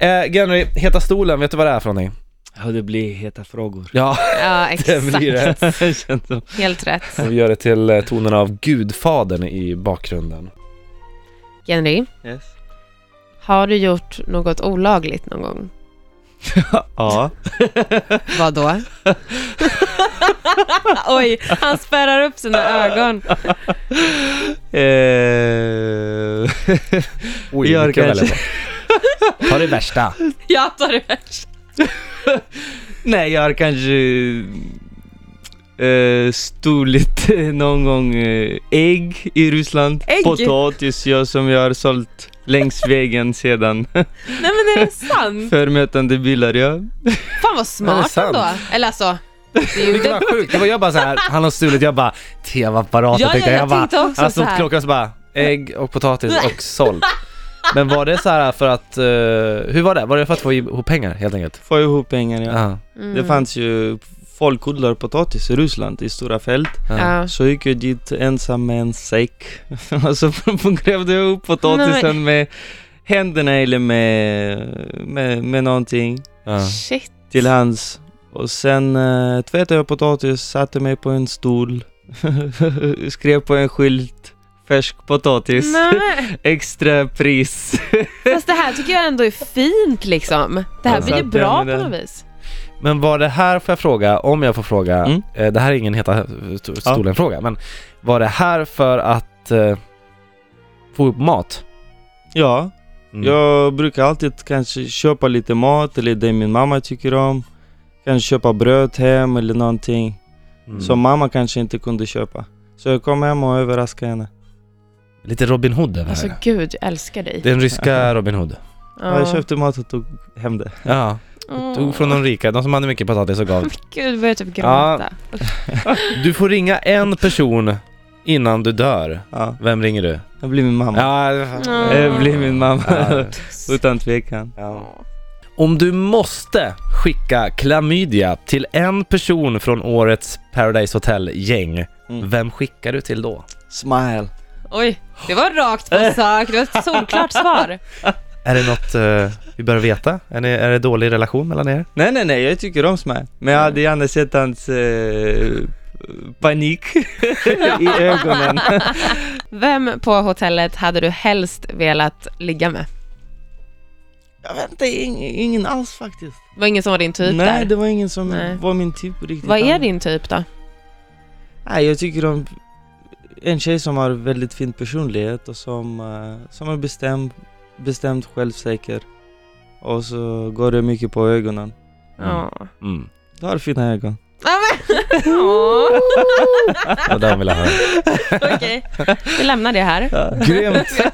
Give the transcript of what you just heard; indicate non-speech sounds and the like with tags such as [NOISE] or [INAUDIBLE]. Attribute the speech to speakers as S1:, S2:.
S1: Eh, Glenry, Heta stolen, vet du vad det är för någonting?
S2: Ja, det blir heta frågor.
S1: Ja,
S3: Ja,
S1: [LAUGHS] det blir
S3: exakt.
S1: det.
S2: [LAUGHS] Det känns som-
S3: Helt rätt.
S1: Och vi gör det till eh, tonen av Gudfadern i bakgrunden.
S3: Henry,
S2: yes.
S3: har du gjort något olagligt någon gång?
S2: [LAUGHS] [LAUGHS] Ja.
S3: Vad [LAUGHS] då? Oj, han spärrar upp sina ögon.
S2: Eh, [LAUGHS]
S1: Oj,
S2: Gör
S1: mycket att
S2: kanske.
S1: välja på. Ta det värsta.
S3: Jag tar det värsta.
S2: Nej, jag har kanske eh, stulit någon gång eh, ägg i Ryssland.
S3: Ägg?
S2: Potatis jag, som jag har sålt längs vägen sedan. [LAUGHS]
S3: Nej men är det sant?
S2: Förmötande bilar, ja.
S3: Fan vad
S1: Men det är
S3: smart
S1: sant.
S3: ändå. Eller alltså, det är ju
S1: Vilket
S3: inte...
S1: var sjukt, det var jag bara så här, han har stulit, jag bara TV-apparaten
S3: Ja, ja,
S1: tänkte jag.
S3: jag
S1: bara,
S3: tänkte också
S1: han har stulit
S3: så här.
S1: klockan och så bara, ägg och potatis och sålt. Men var det så här för att, eh, hur var det? Var det för att få ihop pengar helt enkelt?
S2: Få ihop pengar, ja.
S1: Ja.
S3: Mm.
S2: Det fanns ju folk odlar potatis i Ryssland i stora fält.
S1: ja.
S3: Ja.
S2: Så gick jag dit ensam med en säck [LAUGHS] och så grävde jag upp potatisen
S3: Nej,
S2: med händerna eller med, med, med någonting
S1: ja.
S3: Shit.
S2: till hans. Och sen eh, tvättade jag potatis, satte mig på en stol, [LAUGHS] skrev på en skylt Färsk potatis,
S3: Nej,
S2: [LAUGHS] extra pris. [LAUGHS]
S3: fast det här tycker jag ändå är fint liksom. Det här
S2: Jag
S3: blir ju
S2: satt
S3: bra
S2: där
S3: på
S2: med
S3: något
S2: den.
S3: vis.
S1: Men var det här, får jag fråga, om jag får fråga,
S2: Mm.
S1: eh, det här är ingen heta st- stolen-fråga, men var det här för att eh, få upp mat?
S2: Ja,
S1: Mm.
S2: jag brukar alltid kanske köpa lite mat eller det min mamma tycker om. Kanske köpa bröd hem eller någonting.
S1: Mm.
S2: som mamma kanske inte kunde köpa. Så jag kom hem och överraskade henne.
S1: Lite Robin Hood över
S3: Alltså
S1: här.
S3: gud, jag älskar dig.
S1: Den ryska
S2: [LAUGHS]
S1: Robin Hood.
S2: Ja. Jag köpte mat och tog hem det.
S1: Ja,
S3: Åh.
S1: tog från de rika, de som hade mycket potatis och
S3: [LAUGHS]
S1: gav.
S3: Men gud, jag börjar typ gråta.
S1: Du får ringa en person innan du dör.
S2: Ja,
S1: Vem ringer du?
S2: det blir min mamma.
S1: Ja,
S3: Ja.
S2: Det blir min mamma.
S1: Ja.
S2: Utan tvekan.
S1: Ja. Om du måste skicka klamydia till en person från årets Paradise Hotel-gäng,
S2: Mm.
S1: vem skickar du till då?
S2: Smile.
S3: Oj, det var
S1: [LAUGHS]
S3: rakt på sak. Det var ett solklart svar.
S1: Är det något eh, vi bör veta? Är det, är det dålig relation mellan er?
S2: Nej, nej, nej, jag tycker om Smile. Men jag hade gärna sett hans eh, [LAUGHS] panik i ögonen.
S3: Vem på hotellet hade du helst velat ligga med?
S2: Jag väntar ingen, ingen alls faktiskt.
S3: Det var ingen som var din typ
S2: nej,
S3: där.
S2: det var ingen som
S3: Nej.
S2: var min typ riktigt.
S3: Vad är din typ då?
S2: Nej, jag tycker om en tjej som har väldigt fin personlighet och som, eh, som är bestämd, bestämd självsäker. Och så går det mycket på ögonen.
S3: Ja. [LAUGHS]
S1: Mm.
S2: Du har fina ögon.
S3: Ja, men- Åh.
S1: Det var det jag ville höra.
S3: Okej, vi lämnar det här.
S1: Grymt!